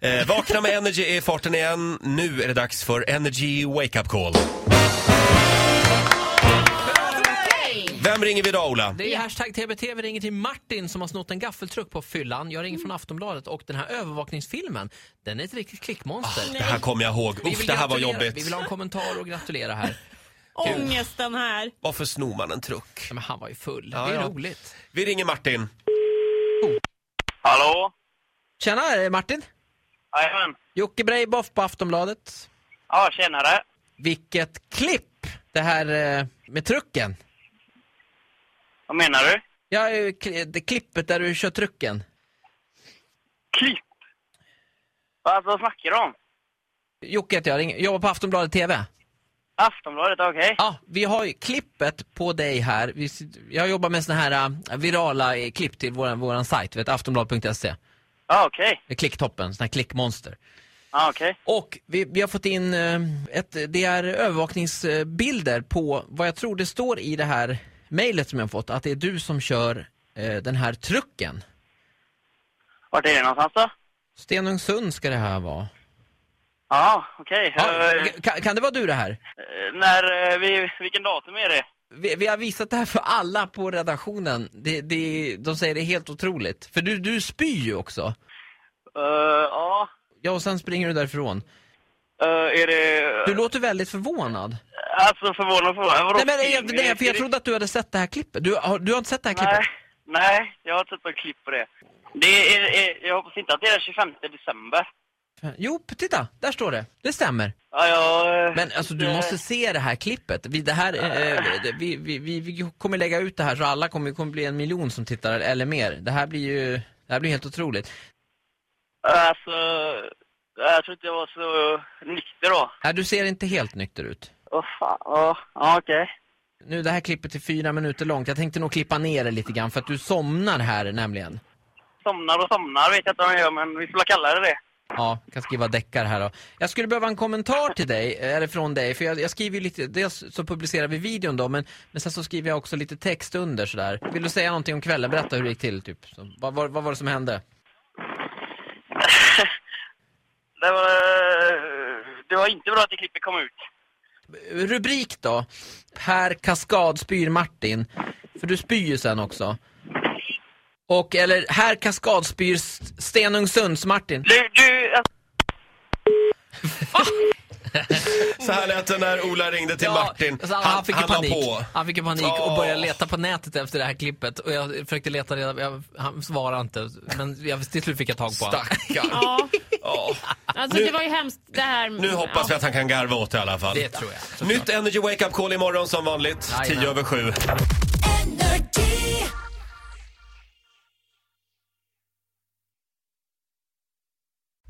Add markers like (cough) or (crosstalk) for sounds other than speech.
Eh, vakna med Energy är i farten igen. Nu är det dags för Energy Wake Up Call. Vem ringer vi idag, Ola? Det är hashtag TBT. Vi ringer till Martin som har snott en gaffeltruck på fyllan. Jag ringer från Aftonbladet och den här övervakningsfilmen, den är ett riktigt klickmonster. Det här kommer jag ihåg. Vi Ah, Uff, vill det här var gratulera. Vi jobbigt. vill ha en kommentar och gratulera här. Ångesten här. Varför snor man en truck? Ja, Men han var ju full. Ja, det är ja. roligt. Vi ringer Martin. Hallå? Tjena, är det Martin? Jajamän. Jocke Breiboff på Aftonbladet. Ja, tjenare. Vilket klipp! Det här eh, med trucken. Vad menar du? Ja, eh, kli- det klippet där du kör trucken. Klipp. Vad, vad snackar du om? Jocke heter jag, ringer- jobbar på Aftonbladet TV. Aftonbladet, okej. Ja, vi har ju klippet på dig här. Vi, s- jag jobbar med såna här eh, virala eh, klipp till våran, våran sajt, vet, aftonbladet.se. Ja, okej. Det är Klicktoppen, såna här klickmonster. Ja, okej. Och vi, vi har fått in eh, ett, det är övervakningsbilder på vad jag tror det står i det här mejlet som jag har fått, att det är du som kör eh, den här trucken. Vart är det någonstans då? Stenungsund ska det här vara. Ja, okej. Ja, Eh, g- kan, kan det vara du det här? eh, när, eh, vi, vilken datum är det? Vi, vi har visat det här för alla på redaktionen. Det, det, de säger det är helt otroligt. För du, du spyr ju också. Eh, Ja, Ja, och sen springer du därifrån. Eh, är det... Du låter väldigt förvånad. Alltså, förvånad, förvånad. Vadå Nej, men film? jag, Är nej, det- för jag är det- trodde att du hade sett det här klippet. Du, har, du har inte sett det här klippet? Nej, nej, jag har inte sett något klipp på det. Det är, är, jag hoppas inte att det är den 25 december. Jo, titta, där står det. Det stämmer. Ja, jag... eh, Men alltså du eh, måste se det här klippet. Vi, det här, eh, det- vi, vi, vi, vi kommer lägga ut det här så alla kommer, kommer bli en miljon som tittar eller mer. Det här blir ju, det här blir helt otroligt. Alltså, jag tror inte jag var så nykter då. Äh, du ser inte helt nykter ut. Åh fan, ja, ja okej. Nu det här klippet är fyra minuter långt. Jag tänkte nog klippa ner det lite grann för att du somnar här nämligen. Somnar och somnar vet jag inte vad jag gör, men vi får väl kalla det det. Ja, jag kan skriva deckar här då. Jag skulle behöva en kommentar till dig, eller från dig, för jag, jag skriver ju lite, dels så publicerar vi videon då, men, men sen så skriver jag också lite text under sådär. Vill du säga någonting om kvällen? Berätta hur det gick till, typ. Så, vad, vad, vad var det som hände? Det var, det var inte bra att det klippet kom ut. Rubrik då. Per Kaskad spyr Martin. För du spyr ju sen också. Och, eller, här Kaskad spyr St- Stenungsunds Martin. Du, du, alltså, Så här lät det när Ola ringde till Martin. alltså, han, han fick ju la panik. på. Han fick ju panik Ja. och började leta på nätet efter det här klippet. Och jag försökte leta reda jag, han svarade inte. Men jag, till slut fick jag tag på honom. Stackarn. Ja, (laughs) Ja. alltså Nu- det var ju hemskt det här. Nu hoppas vi ja. att han kan garva åt det i alla (laughs) fall. Det tror jag. såklart. Nytt Energy Wake Up Call imorgon som vanligt, Jajamän. 10 över 7.